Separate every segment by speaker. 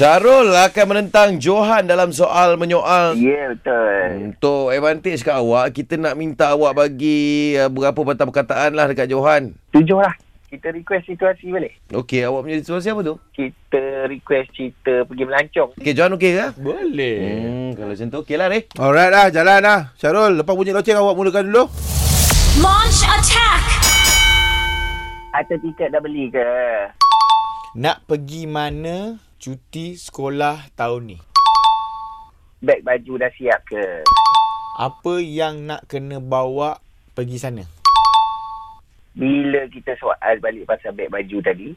Speaker 1: Syarul akan menentang Johan dalam soal menyoal.
Speaker 2: Ya, betul.
Speaker 1: Untuk advantage kat awak, kita nak minta awak bagi uh, berapa patah perkataan lah dekat Johan.
Speaker 2: Tujuh lah. Kita request situasi balik.
Speaker 1: Okey, awak punya situasi apa tu?
Speaker 2: Kita request cerita pergi melancong.
Speaker 1: Okey, Johan okey ke?
Speaker 3: Boleh.
Speaker 1: Hmm, kalau macam tu okey lah, Reh.
Speaker 4: Alright lah, jalan lah. Syarul, lepas bunyi loceng awak mulakan dulu.
Speaker 5: Launch attack!
Speaker 2: Harta tiket dah beli ke?
Speaker 3: Nak pergi mana cuti sekolah tahun ni?
Speaker 2: Beg baju dah siap ke?
Speaker 3: Apa yang nak kena bawa pergi sana?
Speaker 2: Bila kita soal balik pasal beg baju tadi,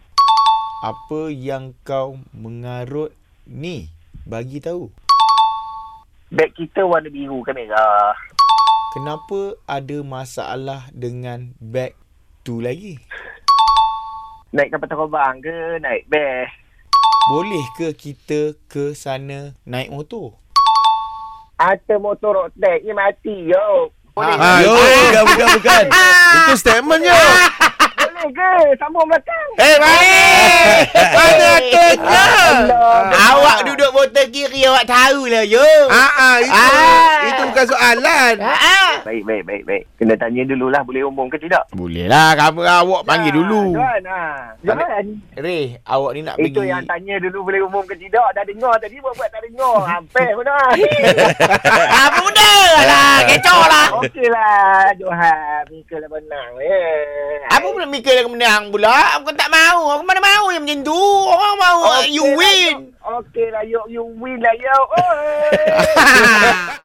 Speaker 3: Apa yang kau mengarut ni? Bagi tahu.
Speaker 2: beg kita warna biru ke merah?
Speaker 3: Kenapa ada masalah dengan beg tu lagi?
Speaker 2: Naik kapal terbang ke? Naik beg?
Speaker 3: Boleh ke kita ke sana naik motor?
Speaker 2: Harta motor rotek ni mati, yo. Boleh,
Speaker 4: Ah,
Speaker 3: Ah,
Speaker 1: Yo,
Speaker 4: itu-
Speaker 1: bukan, bukan, bukan. Eh,
Speaker 4: Itu statement je.
Speaker 3: Ah.
Speaker 2: boleh ke? Sambung belakang.
Speaker 4: Eh, baik. Mana aturnya?
Speaker 3: Awak duduk motor kiri awak tahulah yo.
Speaker 4: Ah, ah, itu,
Speaker 3: Ah.
Speaker 4: itu bukan soalan.
Speaker 1: Ah.
Speaker 2: Baik, baik, baik, baik. Kena tanya dululah boleh umum ke tidak. Ah,
Speaker 3: Boleh lah kamu awak panggil dulu.
Speaker 2: Johan, ha. Johan.
Speaker 3: Reh, awak ni nak
Speaker 2: Itu
Speaker 3: pergi.
Speaker 2: yang tanya dulu boleh umum ke tidak. Dah dengar tadi buat-buat tak dengar. Hampir pun dah.
Speaker 3: ah budak lah, kecoh lah.
Speaker 2: Okey lah Johan. Mika lah menang. Eh.
Speaker 3: Apa pula mikir dengan menang pula? Aku tak mau. Aku mana mau yang macam tu. Orang mau
Speaker 2: Okey
Speaker 3: you
Speaker 2: lah,
Speaker 3: win.
Speaker 2: Yoke. Okey lah Yoke. You win lah Yoke. Oh.